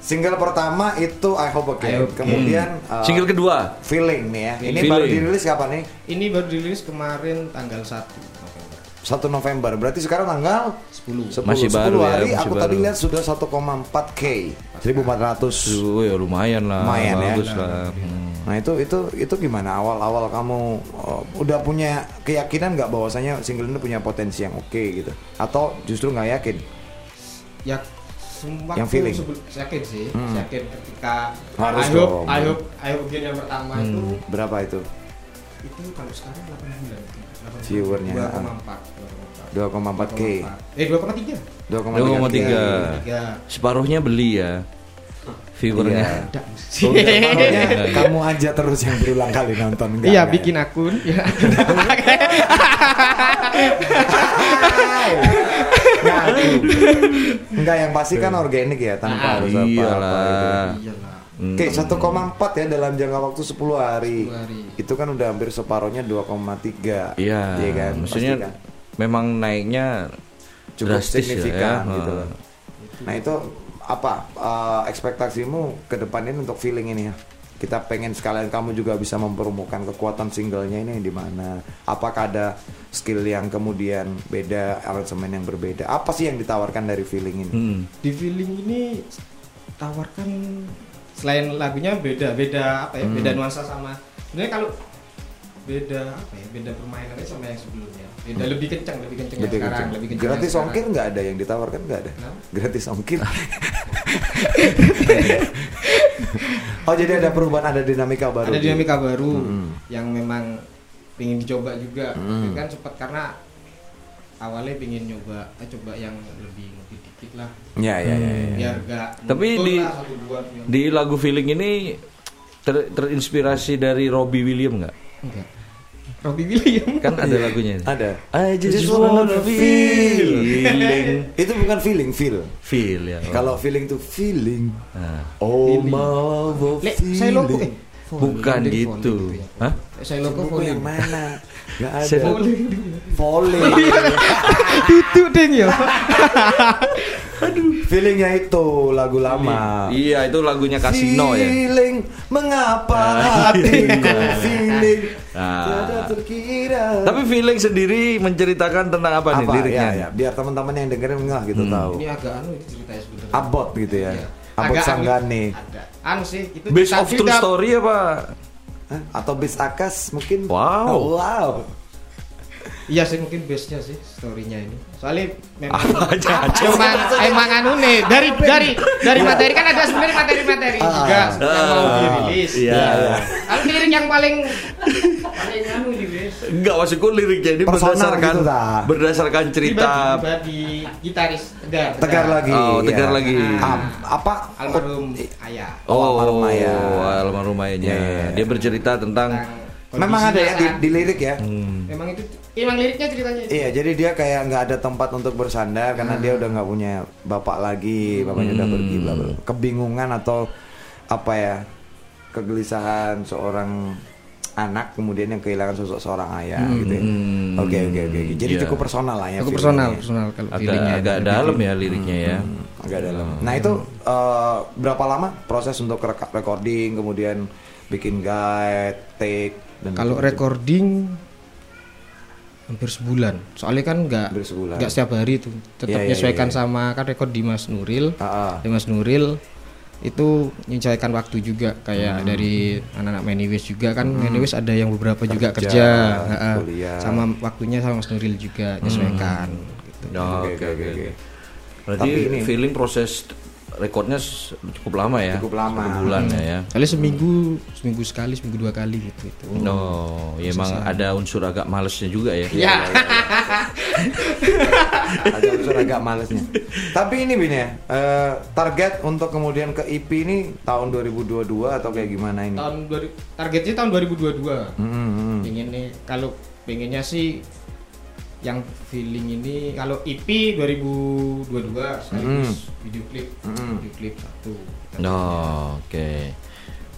Single pertama itu I Hope Again. Kemudian uh,
Hmm. Single kedua.
Feeling nih ya. Ini
Feeling.
baru dirilis kapan nih?
Ini baru dirilis kemarin tanggal 1 November.
1 November. Berarti sekarang tanggal
10.
10,
Masih
10
baru ya,
hari
masih
aku
baru.
tadi lihat sudah 1,4k. 1400
Oh ya lumayan lah.
Lumayan ya.
bagus lah. Hmm.
Nah itu itu itu gimana awal-awal kamu uh, udah punya keyakinan nggak bahwasanya single ini punya potensi yang oke gitu atau justru nggak yakin?
Ya semua
Yang feeling. Hmm.
yakin sih, yakin ketika
Harus
I hope,
dong. Hmm.
I hope, I hope game yang pertama itu
Berapa itu?
itu kalau sekarang 8 bulan. 8
Viewernya.
2,4.
2,4k.
2,4. Eh
2,3k.
2,3.
2,3. 3.
Separuhnya beli ya. Figurnya.
Iya. Makanya kamu aja terus yang berulang kali nonton nggak,
Iya
nggak,
bikin akun. Ya.
nggak, Nggak, yang pasti kan organik ya tanpa
Ah,
harus apa-apa
Iyalah.
gitu.
Iyalah.
Hmm.
Oke, 1,4 ya dalam jangka waktu 10 hari.
10 hari.
Itu kan udah hampir separohnya 2,3.
Iya.
kan?
Maksudnya
Pasti kan?
memang naiknya
cukup
drastis ya,
signifikan
ya.
gitu loh. Nah itu apa eh, ekspektasimu ke depan ini untuk feeling ini ya? Kita pengen sekalian kamu juga bisa mempermukan kekuatan singlenya ini di mana? Apakah ada skill yang kemudian beda, aransemen yang berbeda? Apa sih yang ditawarkan dari feeling ini?
Hmm.
di feeling ini tawarkan selain lagunya beda beda apa ya beda nuansa sama sebenarnya kalau beda apa ya beda permainannya sama yang sebelumnya beda lebih kencang lebih kencang yang
Betul,
Iya, sekarang
betul.
lebih kencang yang
Gratis
sekarang.
ongkir nggak ada yang ditawarkan nggak ada.
Kenapa?
Gratis ongkir. oh jadi ada perubahan ada dinamika baru.
ada
di-
dinamika baru
Mm.
yang memang pingin dicoba juga Tapi kan sempat karena awalnya pingin nyoba eh, coba yang lebih lebih dikit lah
Ya ya ya. ya.
biar gak
Tapi
nuntut
di-
lah satu dua yang-
Di lagu feeling ini ter- terinspirasi dari Robbie William nggak?
enggak Robbie William
Kan ada lagunya. ini.
Iya, Ada.
I just,
Just
wanna
wanna
feel, feeling,
Itu bukan feeling feel.
feel ya.
Kalau feeling tuh feeling.
Nah,
Oh, my
Lek, saya logo eh.
bukan
Falling,
gitu.
falling gitu ya.
Hah?
Lek, Saya logo
Buku
falling.
yang mana? Gak
Saya
ada.
logo.
Falling.
Falling.
Tutu ding ya.
Feelingnya itu lagu lama.
Iya, itu lagunya Casino ya. iya,
Feeling mengapa hatiku feeling
Ah.
tiada terkira.
Tapi feeling sendiri menceritakan tentang apa, nih
apa
liriknya? Hmm.
ya, ya, biar teman-teman yang dengerin ngah gitu tahu.
Ini agak anu itu ceritanya sebenarnya.
Abot gitu ya.
Iya.
Abot
Agak anu-
Sanggane
Ada. Anu sih itu
Based
cerita-
of true
cerita-
story apa?
Hah? atau bis akas mungkin.
Wow.
Oh, wow.
Iya sih mungkin base-nya sih story-nya ini. Soalnya memang
Apa aja aja.
emang emang anu nih dari dari dari
Iya.
materi kan ada sebenarnya materi-materi juga yang mau
Ah,
dirilis.
Iya.
Anu lirik yang paling paling anu di base.
Enggak maksudku liriknya ini
Personal
berdasarkan
gitu, Ta.
berdasarkan cerita
pribadi gitaris tegar
Tegar lagi.
Oh, tegar
ya.
lagi.
Ah, apa?
almarhum ayah
Oh,
Almarhum ayah.
almarhum
Iya,
ayahnya.
iya, iya.
Dia bercerita tentang
tentang
Memang ada ya di,
kan?
di lirik ya.
Hmm.
memang itu emang liriknya ceritanya itu.
Iya, jadi dia kayak nggak ada tempat untuk bersandar karena dia udah nggak punya bapak lagi, bapaknya
Hmm.
udah pergi, bla bla. bla. Kebingungan atau apa ya? Kegelisahan seorang anak kemudian yang kehilangan sosok seorang ayah gitu. ya.
hmm,
Oke oke oke. oke. Jadi
iya.
cukup personal lah ya.
aku
filmnya
personal
ya.
personal kalau
agak
feelingnya
agak
itu.
dalam ya liriknya ya.
Hmm,
Iya.
Agak dalam. Nah itu eh, berapa lama proses untuk reka- recording kemudian bikin guide, take dan
kalau recording hampir sebulan soalnya kan nggak
Hampir sebulan.
nggak setiap hari itu tetap
Iya, iya,
menyesuaikan
iya,
sama kan rekor Dimas Nuril
Ah, ah.
Dimas Nuril itu menyesuaikan waktu juga
Hmm.
kayak dari anak-anak Maniwis juga kan Maniwis ada yang beberapa juga
Kerja,
kerja ha-ha.
kuliah. Hmm.
sama waktunya sama Mas Nuril juga menyesuaikan gitu.
Oh, Oke oke oke. Berarti
Tapi ini-
feeling proses rekornya s- cukup lama ya.
Cukup lama.
Satu bulan ya, ya.
Kali seminggu, seminggu sekali, seminggu dua kali gitu. gitu.
Hmm.
Oh, ya emang ada unsur agak malesnya juga ya.
Iya,
Ada unsur agak malesnya. Tapi ini Bin ya, eh, target untuk kemudian ke EP ini tahun 2022 atau kayak gimana ini?
Tahun 2000 targetnya tahun 2022.
Hmm, hmm.
Pengen nih kalau pengennya sih yang feeling ini kalau EP 2022 sekaligus video klip, video klip satu.
Oh, oke.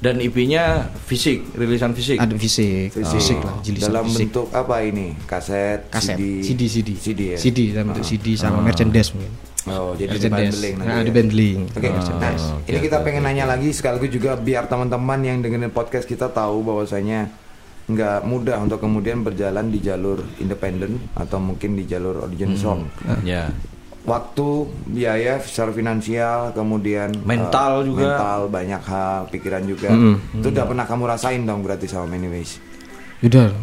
Dan IP-nya fisik, rilisan fisik.
Ada fisik, fisik, lah, jilisan
Dalam
fisik.
bentuk apa ini? Kaset,
kaset,
CD,
CD, CD,
CD, ya?
CD dalam bentuk CD sama merchandise mungkin.
Oh, jadi di
merchandise,
bundling
nah,
nanti.
ada
ya?
bundling.
Oke,
Ah,
nice.
oke,
ini kita
oke,
pengen nanya lagi sekaligus juga biar teman-teman yang dengerin podcast kita tahu bahwasanya nggak mudah untuk kemudian berjalan di jalur independen atau mungkin di jalur origin song.
Ya.
Waktu, biaya, secara finansial, kemudian eh,
Mental juga. Hmm.
mental banyak hal, pikiran juga. Itu udah pernah kamu rasain dong berarti sama Manyways.
Udah.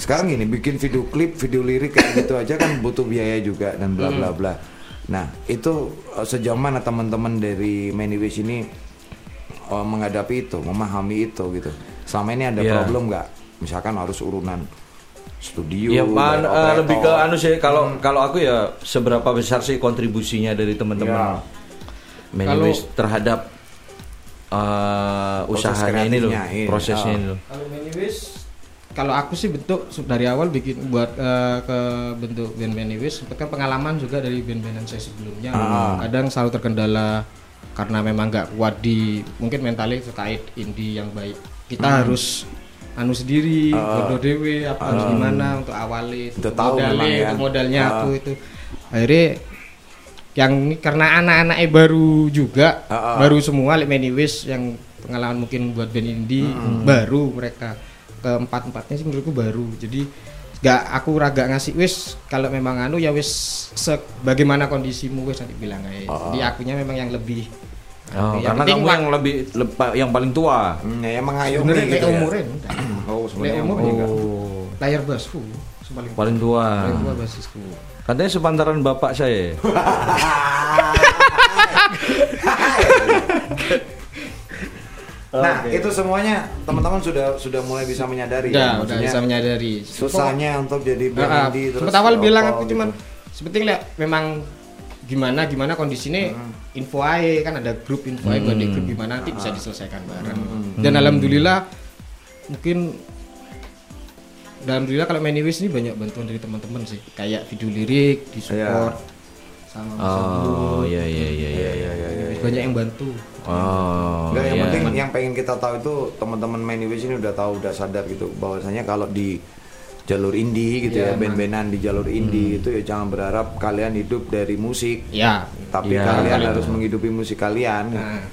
Sekarang gini, bikin video klip, video lirik kayak gitu aja kan butuh biaya juga dan bla
Hmm.
bla bla. Nah, itu eh, sejauh mana teman-teman dari Manyways ini eh, menghadapi itu, memahami itu gitu. Selama ini ada
Iya.
problem nggak? Misalkan harus urunan studio,
Ya
Iya,
bayar
man, eh,
operator.
lebih ke anu sih kalau kalau aku ya seberapa besar sih kontribusinya dari
Ya.
teman-teman
Kalau-
Manyways terhadap eh, usahanya ini loh,
kreatifnya, iya.
prosesnya ini loh.
Kalau Maniwis kalau aku sih bentuk dari awal bikin buat eh, ke bentuk band Maniwis kan pengalaman juga dari band-bandan saya sebelumnya. Kadang selalu terkendala karena memang nggak kuat di mungkin mentalnya terkait indie yang baik. Kita harus anu sendiri, bodoh dewe, apa harus gimana untuk awali itu
Udah tahu
modalnya,
memang ya.
untuk modalnya aku itu. Akhirnya yang ini karena anak-anaknya baru juga
Ah, ah.
baru semua like many Wish yang pengalaman mungkin buat band indie
Hmm,
baru mereka keempat empatnya sih menurutku baru jadi gak aku raga ngasih wish kalau memang anu ya wish sebagaimana kondisimu wis nanti bilang aja
Ah,
jadi akunya memang yang lebih
Oh,
yang
karena
penting
kamu
lah.
yang lebih lepa- yang paling tua.
Hmm, ya, yang mengayomi
sebenarnya
gitu
kayak
ya.
umurin
Oh, sebenarnya
Kayak umur
umurin
juga.
juga.
Oh,
layar basku paling
paling tua.
Ah.
paling tua basisku
Katanya sepantaran bapak saya.
Nah, itu semuanya teman-teman sudah sudah mulai bisa menyadari
udah
ya,
udah
maksudnya
bisa menyadari
susahnya untuk jadi band
Nah,
indie terus
sempat awal
apa
bilang aku
gitu.
cuman seperti lah memang gimana gimana kondisinya
Hmm.
info aja kan ada grup info aja buat di grup
Hmm.
gimana nanti
Ah.
bisa diselesaikan bareng
Hmm.
dan alhamdulillah mungkin alhamdulillah kalau Maniwis ini banyak bantuan dari teman-teman sih kayak video lirik
Iya.
disupport sama Mas
Oh, iya iya iya iya. iya.
Abdul. banyak yang bantu
Oh.
Nggak, yang
iya.
penting yang pengen kita tahu itu teman-teman Maniwis ini udah tahu udah sadar gitu bahwasanya kalau di jalur indie gitu ya band-bandan di jalur
Hmm.
indie itu ya jangan berharap kalian hidup dari musik
ya
tapi
Iya.
kalian harus menghidupi musik kalian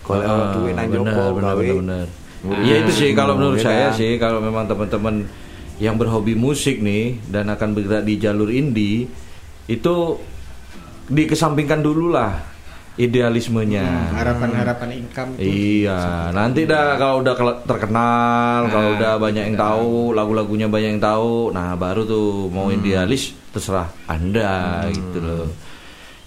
kalau
Ah,
duit nang
benar,
jopo
benar,
gawe.
benar, benar.
Ngurus
Iya itu sih
semua,
kalau menurut
ya
saya
kan?
sih kalau memang teman-teman yang berhobi musik nih dan akan bergerak di jalur indie itu dikesampingkan dulu lah
Hmm.
idealismenya.
harapan-harapan income itu
Iya, nanti dah kalau udah kel-
Ah,
terkenal, kalau udah banyak yang tahu, lagu-lagunya banyak yang tahu, nah baru tuh mau
Hmm.
idealis terserah Anda gitu loh.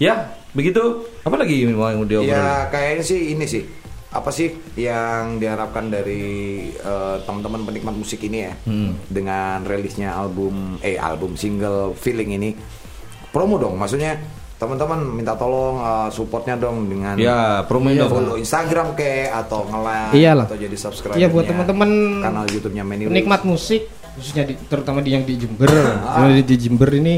Ya, begitu. Apa lagi mau yang diobrolin?
Ya kayaknya sih ini sih apa sih yang diharapkan dari eh, teman-teman penikmat musik ini ya dengan rilisnya album eh album single feeling ini promo dong maksudnya teman-teman minta tolong eh, supportnya dong dengan
Ya, promoin
iya,
dong.
follow Instagram ke atau nge-like
Iyalah.
atau jadi subscriber
Iya, buat teman-teman
kanal YouTube-nya Many Ways.
penikmat musik khususnya di- terutama di yang di Jember Yang di- di Jember ini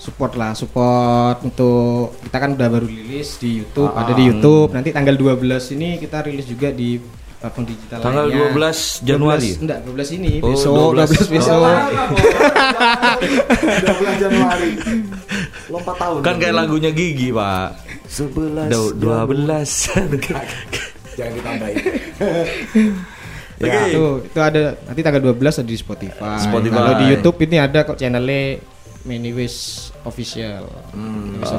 support lah support untuk kita kan udah baru rilis di YouTube ada di YouTube nanti tanggal 12 ini kita rilis juga di platform digital
Tanggal
lainnya.
12 Januari?
12, enggak 12 ini
Oh,
besok
12.
12, besok
Oh.
12 Januari lompat tahun
Kan kayak lagunya Gigi, Pak.
11
Dua- Dua belas.
jangan ditambahin
Ya, itu, itu ada nanti tanggal 12 ada di Spotify.
Spotify.
Kalau di YouTube ini ada kok channelnya Manyways Official. Manyways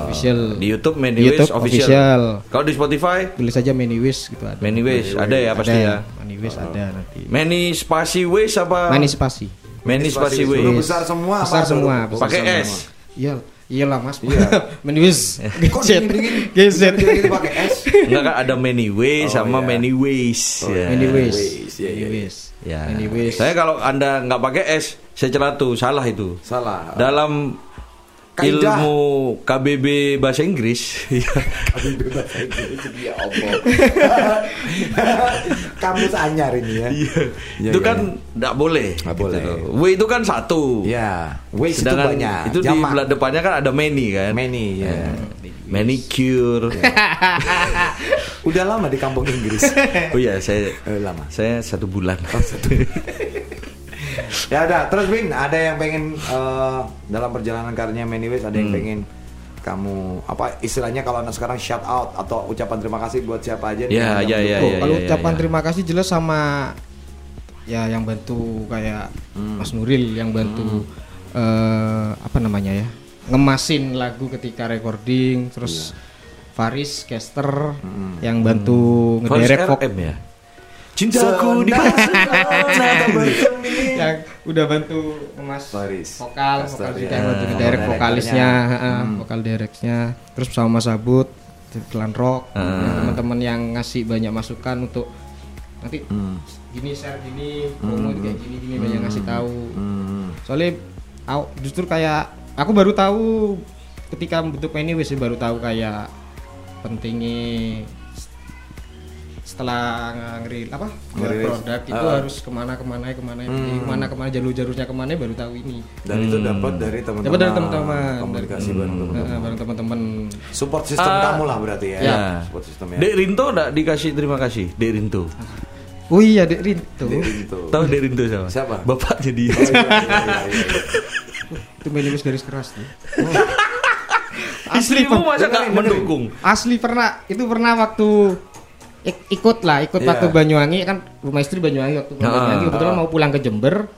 Hmm.
Official.
Di YouTube Manyways
YouTube official.
official. Kalau di Spotify
Tulis aja Manyways gitu ada.
Manyways ada ya pasti
ada.
ya. Ah.
Manyways
Oh.
ada nanti.
Many spasi ways apa?
Manis pasti.
Many spasi ways.
besar semua apa?
Besar semua,
Huruf
besar
Pakai
semua.
S.
Iya. Iyalah Mas.
Iya.
Menius.
Kok
Geset.
dingin-dingin?
Geset.
gitu,
Dingin-dingin pakai es.
Enggak kan ada many ways
Oh, iya.
sama many ways. ya.
Menius.
Ways, iya, iya, iya.
Menius.
Ya.
Menius.
Saya kalau Anda nggak pakai S, saya celatu, salah itu.
Salah.
Dalam
Kaidah.
ilmu KBB bahasa Inggris, ya,
Ya Allah. Kamus anyar ini ya. iya.
itu kan nggak boleh.
Nggak
gitu
boleh.
loh. W itu kan satu.
Ya, ways itu
Sedangkan
banyak.
itu di
Jamak.
belah depannya kan ada many kan.
Many, ya.
Eh, Manicure.
Udah lama di kampung Inggris.
oh iya, saya
Eh, lama.
saya satu bulan.
Oh, ya udah, terus Win, ada yang pengen eh, dalam perjalanan karirnya Many Ways ada
Hmm.
yang pengen kamu apa istilahnya kalau anak sekarang shout out atau ucapan terima kasih buat siapa aja nih
Ya,
yang
ya, ya,
mendukung.
Oh, kalau
iya,
ucapan
iya.
terima kasih jelas sama ya yang bantu kayak
Hmm.
Mas Nuril yang bantu eh, apa namanya ya ngemasin lagu ketika recording terus
Iya.
Faris Caster
Hmm.
yang bantu
Hmm.
ngederek vok-
FM ya. Cintaku di
yang udah bantu ngemas
Faris
vokal
Caster, iya.
vokal juga yang bantu
Ah, Hmm.
ngederek
vokal
vokalisnya
directornya.
ah, vokal direknya terus sama Mas Abud Clan Rock
Ah.
dan teman-teman yang ngasih banyak masukan untuk nanti
Hmm.
gini share gini promo kayak gini gini banyak ngasih tahu
Hmm.
soalnya au- justru kayak aku baru tahu ketika membentuk ini wis baru tahu kayak pentingnya setelah ngeri apa buat
Ngerilis.
produk itu
Ah.
harus kemana kemana kemana kemana kemana jalur jalurnya kemana baru tahu ini
dan itu
Hmm.
dapat dari teman-teman
dapat dari teman-teman
komunikasi
dari,
bareng teman-teman
eh, bareng teman-teman
support system
Ah.
kamu lah berarti ya,
Ya.
support system ya
Dek Rinto enggak dikasih terima kasih, Dek Rinto.
oh iya dek Rinto
Gitu.
Tahu Dek Rinto siapa?
Siapa?
Bapak jadi.
Oh, iya, iya, iya, iya.
itu menilis garis keras tuh Oh.
Istrimu masa nggak mendukung?
asli pernah itu pernah waktu ik- ikut lah ikut
Iya.
waktu Banyuwangi kan rumah istri Banyuwangi waktu
Ah,
Banyuwangi kebetulan mau pulang ke Jember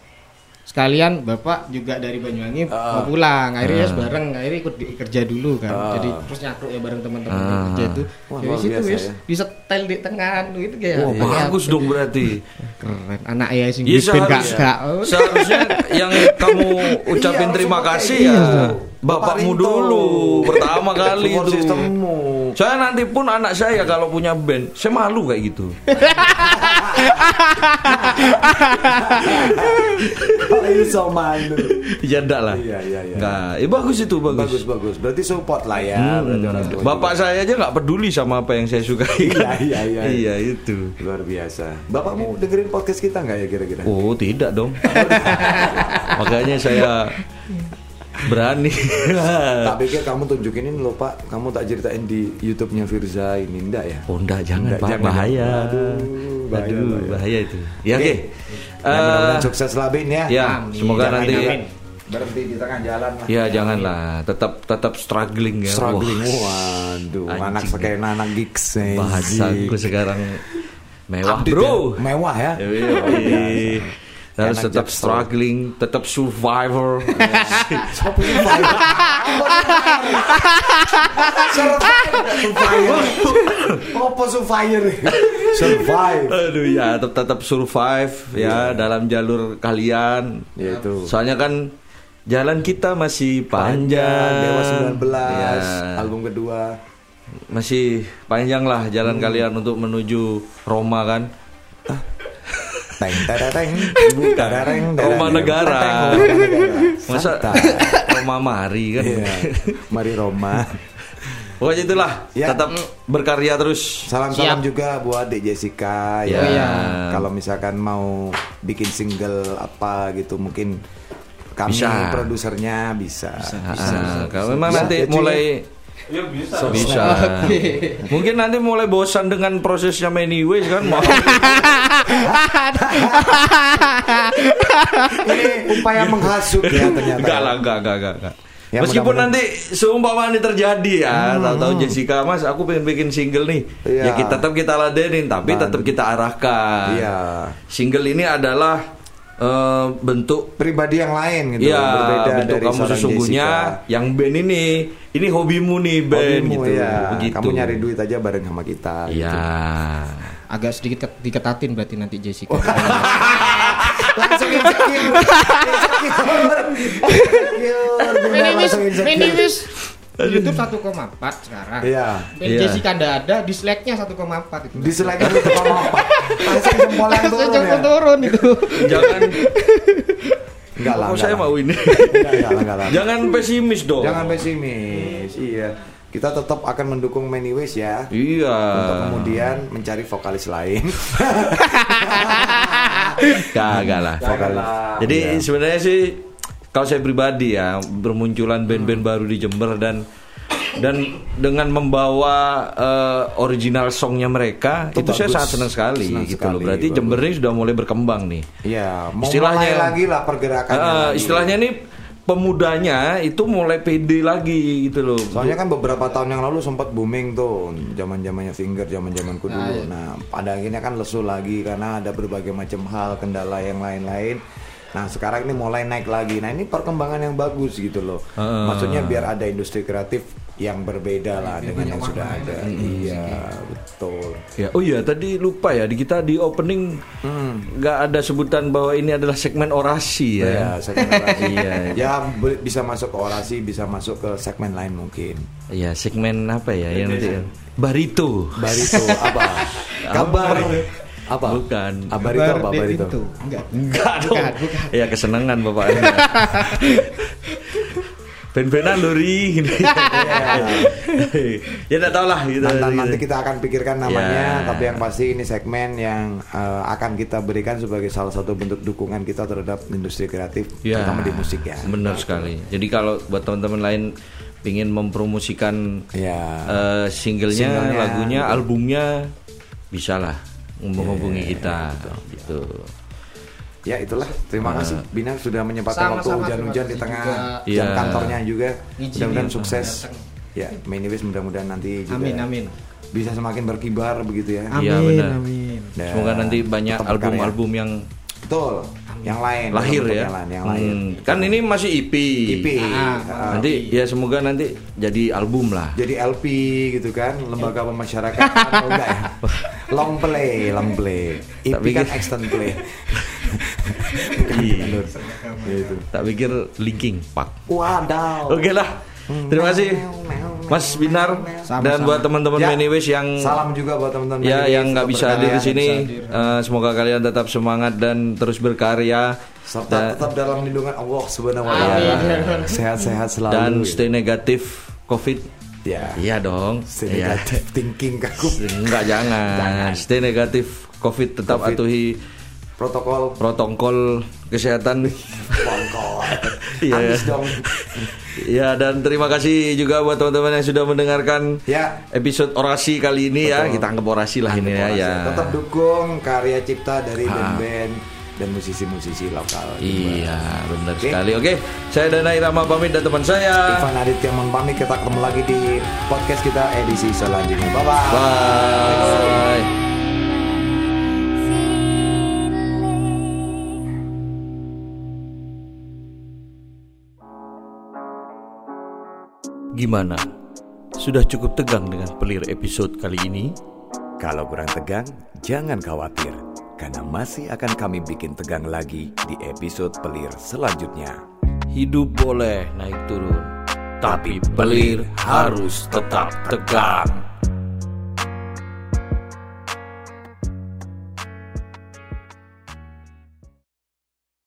sekalian bapak juga dari Banyuwangi mau pulang akhirnya bareng akhirnya ikut di- kerja dulu kan jadi terus nyatu ya bareng teman-teman yang kerja itu
Wah,
jadi
luar
situ
biasa
wis
ya.
bisa tel di tengah itu kayak
Iya.
Wah,
kayak-
Oh, bagus dong berarti.
keren anak ya sing
Ya,
ben gak
seharusnya,
gak oh.
seharusnya yang kamu ucapin
Iya,
terima
harus pakai
kasih
gitu.
ya
Bapak
bapakmu
Rinto.
dulu pertama kali
Support
itu.
systemmu.
Saya nanti pun anak saya kalau punya band, saya malu kayak gitu.
Ayo sama lu.
ya enggak lah.
Iya, iya, iya.
Enggak, eh, bagus itu bagus.
bagus bagus berarti support lah ya berarti orang tua
Hmm. Bapak
juga.
saya aja nggak peduli sama apa yang saya sukai. kan?
Iya, iya, iya.
Iya, itu.
luar biasa bapakmu dengerin podcast kita nggak ya kira-kira
Hmm. Oh, tidak dong. Makanya saya berani.
tak pikir kamu tunjukin ini loh pak kamu tak ceritain di YouTube-nya Firza ini enggak ya
Oh, enggak, jangan,
Enggak,
Pak.
jangan.
bahaya.
Aduh, bahaya,
Aduh,
bahaya.
bahaya itu. Ya,
Oke.
oke.
Ya, mudah-mudahan
Eh,
sukses lah Bin ya
ya, semoga
Jangan
nanti
juga berhenti di tengah jalan lah
ya janganlah tetap tetap struggling ya.
struggling
Wah,
waduh
Anjing.
anak sekena anak gigs eh.
bahasaku sekarang mewah,
Update
Bro.
ya. mewah ya
Yoi. Harus
Enak
tetap
jaksel.
struggling, tetap survivor.
Siapa ini Fire? Survivor. Apa Survivor? Survive.
Aduh ya, tetap tetap survive ya dalam jalur kalian.
Ya itu.
Soalnya kan jalan kita masih panjang.
Dewa
Iya.
19
Ya,
album kedua.
masih panjang lah jalan kalian untuk menuju Roma kan.
Teng tereng. Tereng, tereng.
Roma negara.
Teng, Roma negara.
Masa
Santai.
Roma mari kan.
Iya. Mari Roma.
Pokoknya itulah,
Ya.
tetap berkarya terus.
Salam-salam
Siap.
juga buat Dek Jessica ya.
Ya. Iya.
Kalau misalkan mau bikin single apa gitu mungkin kami
Bisa.
produsernya bisa.
Ah, kalau memang
Bisa,
nanti
ya, cuy.
mulai bisa.
Oke.
Mungkin nanti mulai bosan dengan prosesnya many ways kan mau
Ini upaya menghasut ya ternyata.
Enggak lah, enggak, enggak, enggak, enggak.
Ya,
Meskipun
mudah-mudahan. Hmm.
nanti seumpama ini terjadi ya, tahu-tahu Jessica Mas, aku pengen bikin single nih.
Iya.
Ya kita tetap kita ladenin, tapi tetap kita arahkan.
Iya.
Single ini adalah eh, bentuk
Pribadi yang lain gitu.
Iya,
berbeda
bentuk
dari
kamu
seorang
sesungguhnya
Jessica.
yang band ini, ini hobimu nih band
Hobimu,
gitu.
ya.
Begitu.
Kamu nyari duit gitu. aja bareng sama kita.
Iya.
agak sedikit ket- diketatin berarti nanti Jessica
Langsung Insecure. Insecure. Bunda
Minimis,
langsung insecure.
minimis. YouTube 1,4 sekarang.
Iya.
PJ
Iya.
Jessica nggak ada, dislike-nya 1,4 itu.
Dislike itu pertama apa? Langsung jempol yang
Langsung
turun
jempol
ya?
turun itu.
jangan
Enggak lah.
Oh, saya
enggak
mau
lah.
ini
Enggak, enggak lah, enggak lah.
jangan pesimis dong
Jangan pesimis. Iya. Kita tetap akan mendukung Many Ways ya.
iya
Untuk kemudian mencari vokalis lain.
kagak lah
Vokalis.
Jadi
Iya.
sebenarnya sih kalau saya pribadi ya bermunculan band-band
Hmm.
baru di Jember dan dan dengan membawa eh, original songnya mereka itu,
Itu bagus.
saya sangat senang sekali
Senang
gitu
sekali,
loh. Berarti
bagus.
Jember ini sudah mulai berkembang nih.
Iya, mau
Istilahnya-
mulai lagi lah pergerakannya.
Eh,
lagi.
istilahnya nih pemudanya itu mulai pede lagi gitu loh.
Soalnya kan beberapa tahun yang lalu sempat booming tuh zaman zamannya finger, zaman
Ah,
zamanku dulu.
iya.
Nah, pada akhirnya kan lesu lagi karena ada berbagai macam hal, kendala yang lain-lain. Nah, sekarang ini mulai naik lagi. Nah, ini perkembangan yang bagus gitu loh.
Ah.
Maksudnya biar ada industri kreatif yang berbeda lah dengan yang sudah ada. Iya, betul.
Ya, oh iya tadi lupa ya di kita di opening
Hmm.
nggak ada sebutan bahwa ini adalah segmen orasi ya.
Ya, segmen orasi.
Iya.
ya be- bisa masuk ke orasi, bisa masuk ke segmen lain mungkin.
Iya, segmen apa ya
Iya,
yang nanti barito.
Barito apa? Kabar apa?
Bukan.
Ah, barito apa?
Kabar
Barito.
Devito. Enggak.
Enggak dong.
Bukan, bukan.
Ya kesenangan bapak. Ben-benan lori. ya enggak tahu lah gitu.
Nanti, nanti
Gitu.
Ah. Iya. kita akan pikirkan namanya,
Ya.
tapi yang pasti ini segmen yang eh, akan kita berikan sebagai salah satu bentuk dukungan kita terhadap industri kreatif,
Ya,
terutama di musik ya.
Benar sekali. Jadi kalau buat teman-teman lain pingin mempromosikan
Ya.
eh, singlenya,
Singlenya, gitu.
lagunya, albumnya bisa lah
Iya,
menghubungi kita gitu.
Ya itulah. Terima kasih Bina sudah menyempatkan waktu
Sama-sama,
hujan-hujan
terima
di
kasih
tengah
juga.
jam
Ya.
kantornya juga.
Izin
Mudah-mudahan
ya,
sukses.
datang.
Ya, Minivis mudah-mudahan nanti juga
Amin, amin.
bisa semakin berkibar begitu ya.
Iya,
Amin,
benar.
amin.
Dan
Semoga nanti banyak
tetap berkarya.
album-album yang
Betul. Yang lain.
lahir
bentuk
ya.
Yang lain. Yang lain.
Hmm, Kan ini masih EP.
IP.
Ah,
ah,
nanti ya semoga nanti jadi album lah.
jadi LP gitu kan
Iya.
lembaga pemasyarakatan oh, enggak ya long play long play IP
Tapi
kan
gitu.
extend play kan
Iya.
gitu
Tak pikir linking pak.
wadaw
Oke lah. Terima kasih Mas Binar
Sama-sama.
dan buat teman-teman
Ya.
Manyways yang
salam juga buat teman-teman
ya
Manyways
yang nggak
tetap
bisa hadir di
berkarya,
sini. Eh, semoga kalian tetap semangat dan terus berkarya
serta
Da-
tetap dalam lindungan Allah subhanahu wa
Amin.
taala sehat-sehat selalu
dan stay negatif COVID.
ya
Iya dong.
stay
Iya.
negative thinking kagum
Enggak jangan. Stay negatif COVID tetap
Covid.
atuhi
protokol
protokol kesehatan.
protokol
Iya.
habis dong
ya dan terima kasih juga buat teman-teman yang sudah mendengarkan
ya
episode orasi kali ini ya.
Betul.
Kita anggap orasi lah ini ya.
Terima kasih.
ya.
Tetap dukung karya cipta dari band-band dan musisi-musisi lokal.
Iya, benar
Oke.
sekali. Oke, saya Danai Rama pamit dan teman saya.
Ivan Adit yang mempamit kita ketemu lagi di podcast kita edisi selanjutnya. Bye bye.
Bye. Gimana? Sudah cukup tegang dengan pelir episode kali ini?
Kalau kurang tegang, jangan khawatir karena masih akan kami bikin tegang lagi di episode pelir selanjutnya.
Hidup boleh naik turun, tapi pelir harus tetap tegang.